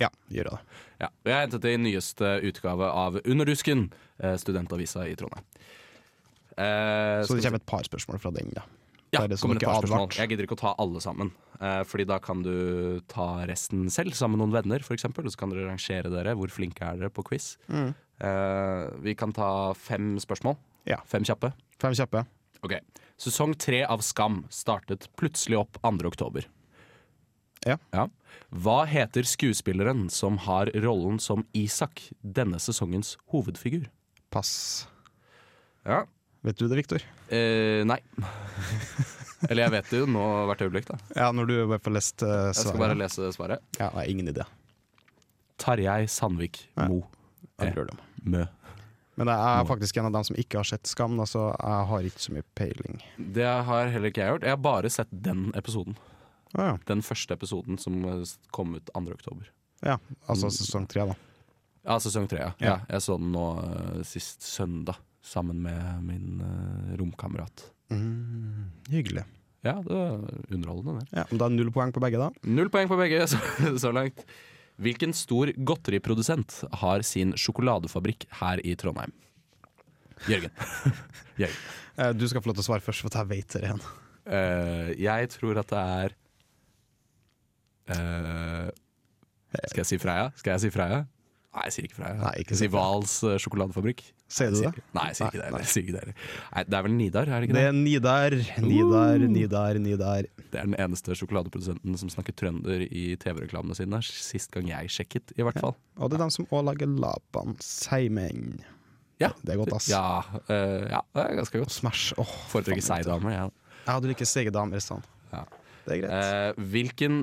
Speaker 3: Ja, gjøre det.
Speaker 2: Ja. og Jeg har hentet det i nyeste utgave av Underdusken, eh, studentavisa i Trondheim. Eh,
Speaker 3: Så
Speaker 2: skal vi
Speaker 3: det
Speaker 2: se.
Speaker 3: kommer et par spørsmål fra den, da.
Speaker 2: Ja,
Speaker 3: Det er det som
Speaker 2: kommer et
Speaker 3: dere
Speaker 2: par
Speaker 3: er
Speaker 2: spørsmål.
Speaker 3: advart.
Speaker 2: Jeg gidder ikke å ta alle sammen. Eh, Fordi da kan du ta resten selv, sammen med noen venner f.eks. Og så kan dere rangere dere. Hvor flinke er dere på quiz?
Speaker 3: Mm.
Speaker 2: Eh, vi kan ta fem spørsmål.
Speaker 3: Ja.
Speaker 2: Fem kjappe.
Speaker 3: Fem kjappe.
Speaker 2: Ok. Sesong tre av Skam startet plutselig opp 2. oktober.
Speaker 3: Ja.
Speaker 2: Hva heter skuespilleren som har rollen som Isak, denne sesongens hovedfigur?
Speaker 3: Pass.
Speaker 2: Ja.
Speaker 3: Vet du det, Viktor?
Speaker 2: Eh, nei. <laughs> Eller jeg vet det jo nå hvert øyeblikk, da.
Speaker 3: Ja, når du bare får lest uh,
Speaker 2: Jeg skal bare lese svaret.
Speaker 3: Ja, nei, ingen idé.
Speaker 2: Tarjei Sandvik
Speaker 3: Ja.
Speaker 2: Mo. Eh,
Speaker 3: Jeg lurer dem.
Speaker 2: Mø.
Speaker 3: Men jeg er faktisk en av dem som ikke har sett Skam, da, så jeg har ikke så mye peiling.
Speaker 2: Det har heller ikke jeg gjort. Jeg har bare sett den episoden.
Speaker 3: Å ja.
Speaker 2: Den første episoden som eh, kom ut 2. oktober.
Speaker 3: ja. Altså sesong tre, da.
Speaker 2: Ja, sesong tre. Ja.
Speaker 3: Ja.
Speaker 2: Ja, jeg så den nå eh, sist søndag sammen med min eh, romkamerat.
Speaker 3: Mm, hyggelig.
Speaker 2: Ja, det var underholdende, det.
Speaker 3: Ja, men Da er null poeng på begge, da.
Speaker 2: Null poeng på begge <laughs> så, så langt. Hvilken stor godteriprodusent har sin sjokoladefabrikk her i Trondheim? <laughs> Jørgen. Jørgen.
Speaker 3: Eh, Du skal få lov til å svare først, for jeg vet det igjen.
Speaker 2: Eh, jeg tror at det er eh, Skal jeg si Freia? Skal jeg si Freia? Nei, jeg sier ikke Freia.
Speaker 3: Nei, ikke
Speaker 2: jeg
Speaker 3: si
Speaker 2: sier Hvals eh, sjokoladefabrikk.
Speaker 3: Sier du
Speaker 2: Sier-
Speaker 3: det?
Speaker 2: Nei, jeg sier ikke det heller. Jeg sier ikke det heller. Nei, Det er vel Nidar, er det ikke
Speaker 3: Det
Speaker 2: det?
Speaker 3: er Nidar, Nidar, Nidar, Nidar.
Speaker 2: Det er den eneste sjokoladeprodusenten som snakker trønder i TV-reklamene sine. Sist gang jeg sjekket, i hvert fall.
Speaker 3: Og det er dem som òg lager Laban Seimen.
Speaker 2: Ja.
Speaker 3: Det er godt, ass.
Speaker 2: Ja, eh, ja, det er ganske godt.
Speaker 3: Smash. Åh,
Speaker 2: Foretrekker seig dame, jeg.
Speaker 3: Ja, du liker seige damer, sant.
Speaker 2: Ja.
Speaker 3: Det er greit.
Speaker 2: Eh, hvilken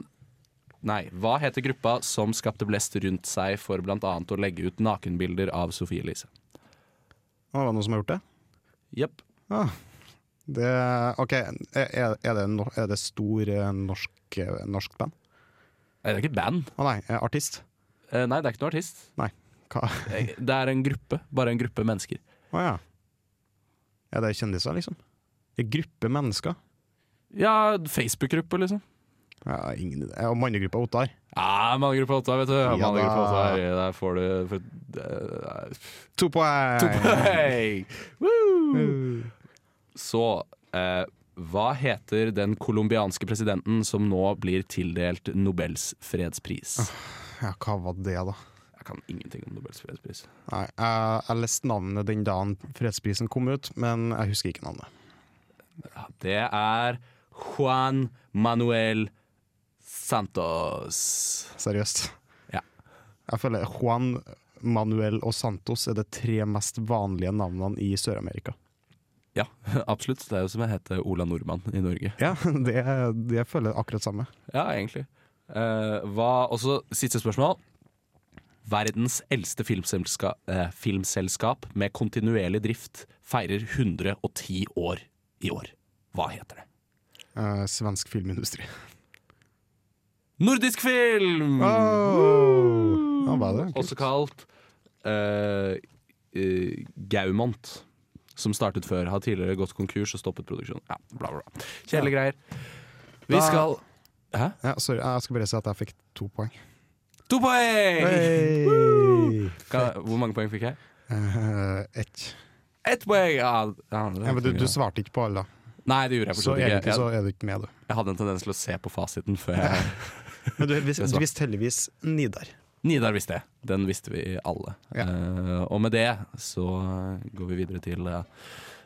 Speaker 2: Nei, hva heter gruppa som skapte blest rundt seg for blant annet å legge ut nakenbilder av Sofie Elise?
Speaker 3: Å, var det noen som har gjort det?
Speaker 2: Jepp.
Speaker 3: Ah, det OK, er, er, det, no, er det stor eh, norsk, eh, norsk band?
Speaker 2: Nei, Det er ikke et band.
Speaker 3: Å nei, eh, artist?
Speaker 2: Eh, nei, det er ikke noen artist.
Speaker 3: Hva?
Speaker 2: Eh, Det er en gruppe. Bare en gruppe mennesker.
Speaker 3: Å ja. Er det kjendiser, liksom? En gruppe mennesker?
Speaker 2: Ja, Facebook-gruppe, liksom.
Speaker 3: Ja, ingen idé. Og mannegruppa Ottar.
Speaker 2: Ja, mannegruppa Åtta, vet du. Ja,
Speaker 3: Ja,
Speaker 2: mannegruppa Åtta,
Speaker 3: da.
Speaker 2: her, Der får du for, eh,
Speaker 3: To poeng!
Speaker 2: to poeng! Woo! Så eh, hva heter den colombianske presidenten som nå blir tildelt Nobels fredspris?
Speaker 3: Ja, hva var det, da?
Speaker 2: Jeg kan ingenting om Nobels fredspris.
Speaker 3: Nei, jeg, jeg leste navnet den dagen fredsprisen kom ut, men jeg husker ikke navnet.
Speaker 2: Ja, det er Juan Manuel Santos.
Speaker 3: Seriøst.
Speaker 2: Ja.
Speaker 3: Jeg føler Juan Manuel og Santos er de tre mest vanlige navnene i Sør-Amerika.
Speaker 2: Ja, <laughs> absolutt. Det er jo som jeg heter Ola Nordmann i Norge.
Speaker 3: Ja, <laughs> det, det føler jeg akkurat samme.
Speaker 2: Ja, egentlig. Eh, hva, også siste spørsmål. Verdens eldste filmselska, eh, filmselskap med kontinuerlig drift feirer 110 år i år. Hva heter det?
Speaker 3: Eh, svensk filmindustri.
Speaker 2: Nordisk film!
Speaker 3: Ja, hva er det?
Speaker 2: Også kalt eh, eh, Gaumont. Som startet før, har tidligere gått konkurs og stoppet produksjonen. Ja, bla, bla, bla. Kjedelige greier. Vi
Speaker 3: Da-
Speaker 2: skal Hæ?
Speaker 3: Ja, sorry, jeg skal bare si at jeg fikk to poeng.
Speaker 2: To poeng!
Speaker 3: Hey!
Speaker 2: Hva- Hvor mange poeng fikk jeg?
Speaker 3: Eh, Ett.
Speaker 2: Ett poeng! Ja, ja, det er
Speaker 3: Ja, men du,
Speaker 2: ikke
Speaker 3: du
Speaker 2: mye.
Speaker 3: svarte ikke på alle, da.
Speaker 2: Nei, det gjorde jeg
Speaker 3: Så
Speaker 2: forstått ikke.
Speaker 3: egentlig så
Speaker 2: Jeg,
Speaker 3: er du ikke
Speaker 2: <laughs>
Speaker 3: med, du.
Speaker 2: jeg hadde en tendens til å se på fasiten før jeg
Speaker 3: <laughs> Men du, vis,
Speaker 2: Det er
Speaker 3: du
Speaker 2: svart.
Speaker 3: visste heldigvis Nidar.
Speaker 2: Nidar visste jeg. Den visste vi alle.
Speaker 3: Ja.
Speaker 2: Eh, og med det så går vi videre til eh,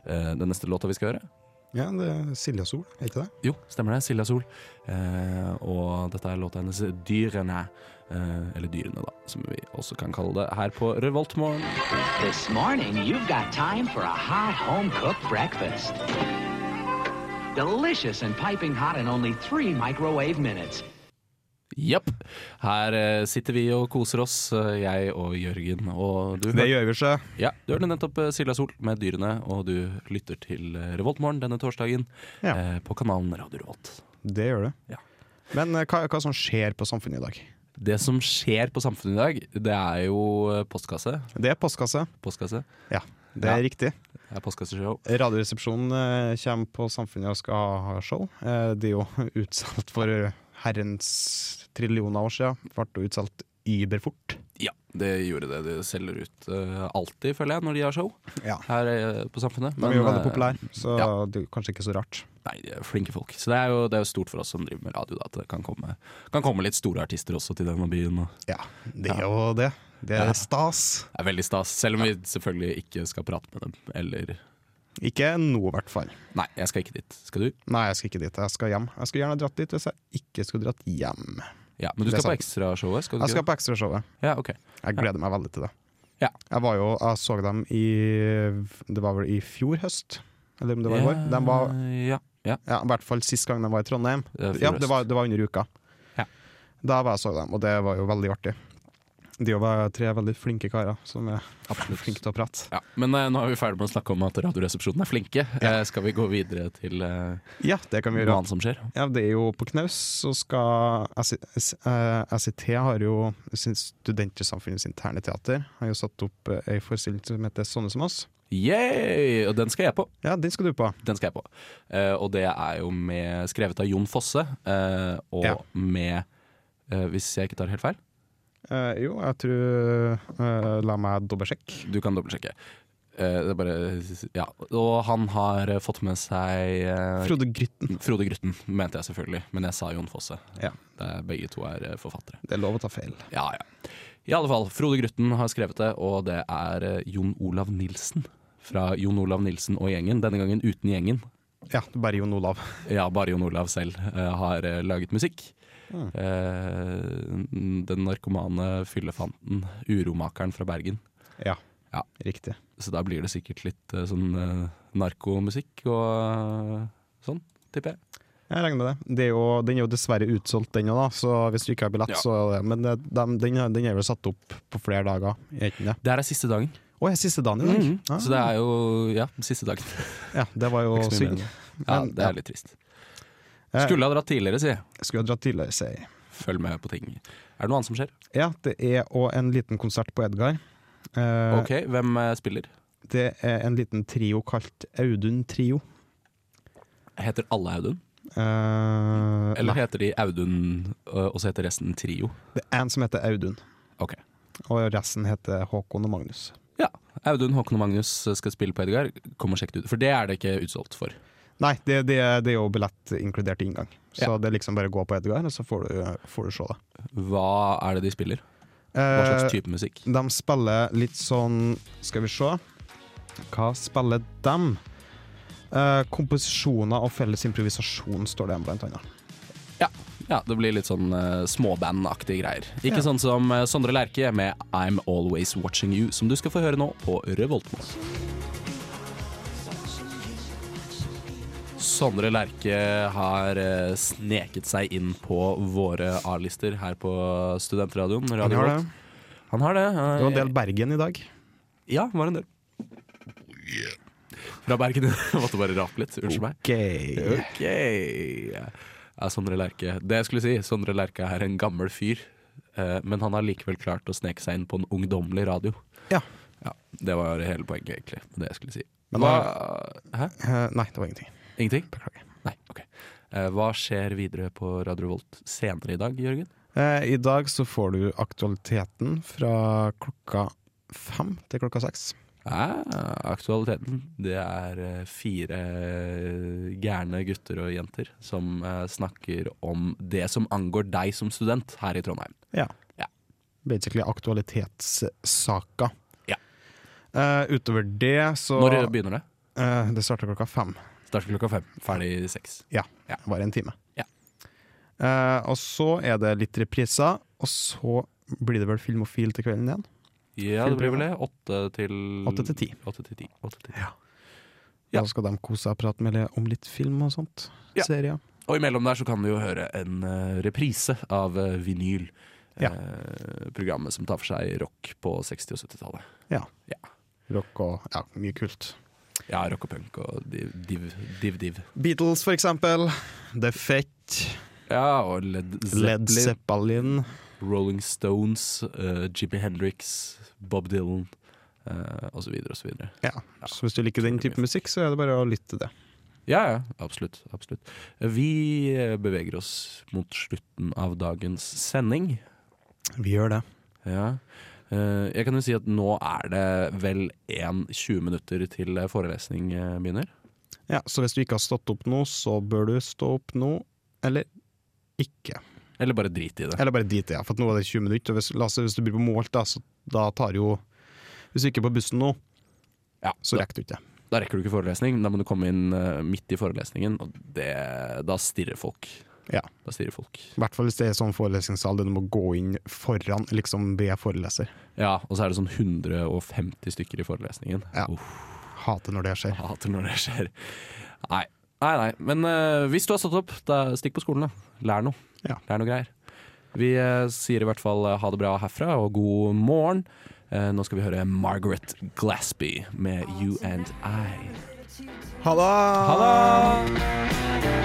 Speaker 2: eh, den neste låta vi skal høre.
Speaker 3: Ja, det er Silja Sol, er ikke det?
Speaker 2: Jo, stemmer det. Silja Sol. Eh, og dette er låta hennes 'Dyrene'. Eh, eller 'Dyrene', da, som vi også kan kalle det her på Revoltmorgen.
Speaker 9: This morning, you've got time for a hot home cooked breakfast. Delicious and piping hot in only three microwave minutes.
Speaker 2: Jepp. Her eh, sitter vi og koser oss, eh, jeg og Jørgen og du.
Speaker 3: gjør vi ikke.
Speaker 2: Ja, du hørte nettopp eh, Silja Sol med 'Dyrene', og du lytter til eh, Revoltmorgen denne torsdagen
Speaker 3: Ja.
Speaker 2: eh, på kanalen Radio Revolt.
Speaker 3: Det gjør du.
Speaker 2: Ja.
Speaker 3: Men eh, hva, hva som skjer på samfunnet i dag?
Speaker 2: Det som skjer på samfunnet i dag, det er jo eh, postkasse.
Speaker 3: Det er postkasse.
Speaker 2: Postkasse.
Speaker 3: Ja, det er
Speaker 2: Ja.
Speaker 3: riktig.
Speaker 2: Det er postkasseshow.
Speaker 3: Radioresepsjonen eh, kommer på Samfunnet og skal ha- ha show. Eh, det er jo <laughs> utsolgt for herrens trillioner år siden. Ble jo utsolgt überfort.
Speaker 2: Ja, det gjorde det. De selger ut eh, alltid, føler jeg, når de har show
Speaker 3: Ja.
Speaker 2: her eh, på Samfunnet.
Speaker 3: De er jo veldig populære, så
Speaker 2: ja.
Speaker 3: det er jo kanskje ikke så rart.
Speaker 2: eh, Nei, de er flinke folk. Så det er jo, det er jo stort for oss som driver med radio, da, at det kan komme, kan komme litt store artister også til denne byen. og
Speaker 3: Ja, det er jo det. Det er
Speaker 2: Ja.
Speaker 3: stas.
Speaker 2: Det er veldig stas. Selv om vi selvfølgelig ikke skal prate med dem, eller
Speaker 3: Ikke nå, i hvert fall.
Speaker 2: Nei, jeg skal ikke dit. Skal du?
Speaker 3: Nei, jeg skal ikke dit. Jeg skal hjem. Jeg skulle gjerne dratt dit hvis jeg ikke skulle dratt hjem.
Speaker 2: Ja, Men du
Speaker 3: Det er
Speaker 2: skal på ekstrashowet? Skal du
Speaker 3: Jeg
Speaker 2: ikke
Speaker 3: skal på ekstrashowet.
Speaker 2: det? Ja, ok.
Speaker 3: Jeg gleder meg veldig til det.
Speaker 2: Ja.
Speaker 3: Jeg, var jo, jeg så dem i Det var vel i fjor høst? Eller om det var i
Speaker 2: Ja,
Speaker 3: vår? De var,
Speaker 2: Eh, ja,
Speaker 3: <laughs>
Speaker 2: ja.
Speaker 3: ja, I hvert fall sist gang de var i Trondheim.
Speaker 2: Det er fjor
Speaker 3: ja,
Speaker 2: høst.
Speaker 3: det var, det var under uka.
Speaker 2: Ja.
Speaker 3: Da var jeg så dem, og det var jo veldig artig. De var tre veldig flinke karer som er flinke til å prate.
Speaker 2: Ja, men eh, nå er vi ferdig med å snakke om at Radioresepsjonen er flinke. Eh, skal vi gå videre til eh,
Speaker 3: Ja, det kan vi
Speaker 2: noe
Speaker 3: gjøre.
Speaker 2: annet som skjer?
Speaker 3: Ja, det er jo på knaus, så skal SIT har jo sin studentsamfunnets interne teater. Har jo satt opp eh, ei forestilling som heter 'Sånne som oss'.
Speaker 2: Yay! Og den skal jeg på.
Speaker 3: Ja, den skal du på.
Speaker 2: Den skal jeg på. Eh, og det er jo med, skrevet av Jon Fosse, eh, og
Speaker 3: Ja.
Speaker 2: med eh, Hvis jeg ikke tar helt feil,
Speaker 3: Eh, jo, jeg tror eh, La meg dobbeltsjekke.
Speaker 2: du kan dobbeltsjekke. Eh, det er bare Ja. Og han har eh, fått med seg eh,
Speaker 3: Frode Grytten.
Speaker 2: Frode Grytten, mente jeg selvfølgelig, men jeg sa Jon Fosse.
Speaker 3: Ja.
Speaker 2: Det er, begge to er eh, forfattere.
Speaker 3: Det er lov å ta feil.
Speaker 2: Ja, ja. I alle fall, Frode Grytten har skrevet det, og det er eh, Jon Olav Nilsen. Fra Jon Olav Nilsen og gjengen, denne gangen uten gjengen.
Speaker 3: Ja, bare Jon Olav. <laughs>
Speaker 2: Ja, bare Jon Olav selv eh, har eh, laget musikk.
Speaker 3: Mm.
Speaker 2: Eh, den narkomane fyllefanten, uromakeren fra Bergen.
Speaker 3: Ja.
Speaker 2: Ja.
Speaker 3: Riktig.
Speaker 2: Så da blir det sikkert litt eh, sånn eh, narkomusikk og eh, sånn, tipper jeg.
Speaker 3: Jeg regner med det. det er jo, den er jo dessverre utsolgt, den òg, så hvis du ikke har billett,
Speaker 2: Ja.
Speaker 3: så er det Men det, dem- den, er- den er vel satt opp på flere dager, er ikke den det?
Speaker 2: Det her er siste dagen.
Speaker 3: Å, jeg er siste dagen i dag! Ah,
Speaker 2: Mhm. Så det er jo ja, siste dagen.
Speaker 3: <laughs> ja, det var jo
Speaker 2: Ikke så mye
Speaker 3: synd.
Speaker 2: mer. Ja,
Speaker 3: Men,
Speaker 2: det
Speaker 3: ja.
Speaker 2: er litt trist.
Speaker 3: Eh,
Speaker 2: Skulle ha dratt tidligere, sier jeg.
Speaker 3: Skulle ha dratt tidligere, sier jeg.
Speaker 2: Følg med på ting. Er det noe annet som skjer?
Speaker 3: Ja, det er òg en liten konsert på Edgar. Eh,
Speaker 2: Ok, hvem eh, spiller?
Speaker 3: Det er en liten trio kalt Audun Trio.
Speaker 2: Heter alle Audun?
Speaker 3: Eh,
Speaker 2: Eller heter de Audun, eh, og så heter resten Trio?
Speaker 3: Det er en som heter Audun,
Speaker 2: Ok.
Speaker 3: og resten heter Håkon og Magnus.
Speaker 2: Ja. Audun, Håkon og Magnus skal spille på Edgar. Kom og sjekk det ut, for det er det ikke utsolgt for.
Speaker 3: Nei, det, det, det er jo billett inkludert inngang. Så
Speaker 2: Ja.
Speaker 3: det er liksom bare å gå på Edgar, og så får du, får du se det.
Speaker 2: Hva er det de spiller? Hva slags type musikk?
Speaker 3: Eh, De spiller litt sånn Skal vi se. Hva spiller dem? Eh, komposisjoner og felles improvisasjon står det igjen, blant annet.
Speaker 2: Ja, ja det blir litt sånn uh, småbandaktige greier. Ikke sånn som eh, Sondre Lerche med I'm Always Watching You, som du skal få høre nå på Revoltmos. Sondre Lerche har eh, sneket seg inn på våre A-lister her på Studentradioen. Radio
Speaker 3: Han har
Speaker 2: Revolt. Han har det. eh,
Speaker 3: Det var en del Bergen i dag.
Speaker 2: Ja, var en del. Fra Bergen. <laughs> Jeg måtte bare rape litt. Unnskyld meg.
Speaker 3: Okay.
Speaker 2: Ok ja, Sondre Lerche Det jeg skulle si, Sondre Lerche er en gammel fyr eh, Men han har likevel klart å sneke seg inn på en ungdommelig radio
Speaker 3: Ja.
Speaker 2: Ja, det var hele poenget egentlig Det jeg skulle si
Speaker 3: Men
Speaker 2: Hva, Hæ?
Speaker 3: Eh, nei, det var ingenting.
Speaker 2: Ingenting? Nei, ok Eh, Hva skjer videre på Radio Volt senere i dag, Jørgen?
Speaker 3: Eh, I dag så får du aktualiteten fra klokka fem til klokka seks.
Speaker 2: Ja, Ah, aktualiteten Det er eh, fire eh, gærne gutter og jenter Som eh, snakker om det som angår deg som student her i Trondheim
Speaker 3: Ja.
Speaker 2: Ja.
Speaker 3: Basically aktualitetssaker.
Speaker 2: Ja.
Speaker 3: Eh, utover det så
Speaker 2: Når begynner det?
Speaker 3: eh, Det starter klokka fem.
Speaker 2: Starter klokka fem, ferdig seks.
Speaker 3: Ja,
Speaker 2: Ja.
Speaker 3: bare en time.
Speaker 2: Ja.
Speaker 3: Eh, og så er det litt repriser, og så blir det vel Filmofil til kvelden igjen.
Speaker 2: Ja, det blir vel det. Åtte til
Speaker 3: Åtte til ti.
Speaker 2: Åtte til ti. Åtte til ti. Ja.
Speaker 3: Ja. Da skal de kose seg og prate med om litt film og sånt.
Speaker 2: Ja.
Speaker 3: Serier.
Speaker 2: Og imellom der så kan du jo høre en eh, reprise av eh, vinyl.
Speaker 3: Ja.
Speaker 2: Eh, programmet som tar for seg rock på 60- og 70-tallet.
Speaker 3: Ja.
Speaker 2: Ja.
Speaker 3: Rock og ja, mye kult.
Speaker 2: Ja, rock og punk og div, div, div. div.
Speaker 3: Beatles, for eksempel. The Fett.
Speaker 2: Ja, og Led
Speaker 3: Led
Speaker 2: Zeppelin,
Speaker 3: Zeppelin.
Speaker 2: Rolling Stones, eh, Jimi Hendrix, Bob Dylan eh, og så videre og så videre.
Speaker 3: Ja. Så hvis du liker den type musikk, så er det bare å lytte til det.
Speaker 2: Ja, ja, absolutt. absolutt. Vi eh, beveger oss mot slutten av dagens sending.
Speaker 3: Vi gjør det.
Speaker 2: Ja. Eh, Jeg kan jo si at nå er det vel en 20 minutter til forelesning eh, begynner.
Speaker 3: Ja, Så hvis du ikke har stått opp nå, så bør du stå opp nå, eller ikke.
Speaker 2: Eller bare drit i det.
Speaker 3: Eller bare dit, ja, for at nå er det 20 minutter. Og hvis, la oss si hvis du blir på målt, da, så da tar jo Hvis du ikke er på bussen nå,
Speaker 2: Ja,
Speaker 3: så
Speaker 2: da-
Speaker 3: rekker du ikke.
Speaker 2: Da rekker du ikke forelesning. Da må du komme inn eh, midt i forelesningen, og det, da stirrer folk.
Speaker 3: Ja.
Speaker 2: Da stirrer folk.
Speaker 3: I hvert fall hvis det er sånn forelesningssal der du må gå inn foran, liksom ved foreleser.
Speaker 2: Ja, og så er det sånn 150 stykker i forelesningen.
Speaker 3: Ja.
Speaker 2: Uff.
Speaker 3: Hater når det skjer.
Speaker 2: Jeg hater når det skjer. Nei, nei. nei. Men eh, hvis du har stått opp, da stikk på skolen. da. Lær noe.
Speaker 3: Ja.
Speaker 2: Lær noe greier. Vi eh, sier i hvert fall eh, ha det bra herfra, og god morgen. Eh, nå skal vi høre Margaret Glassby med You and I. Ha det!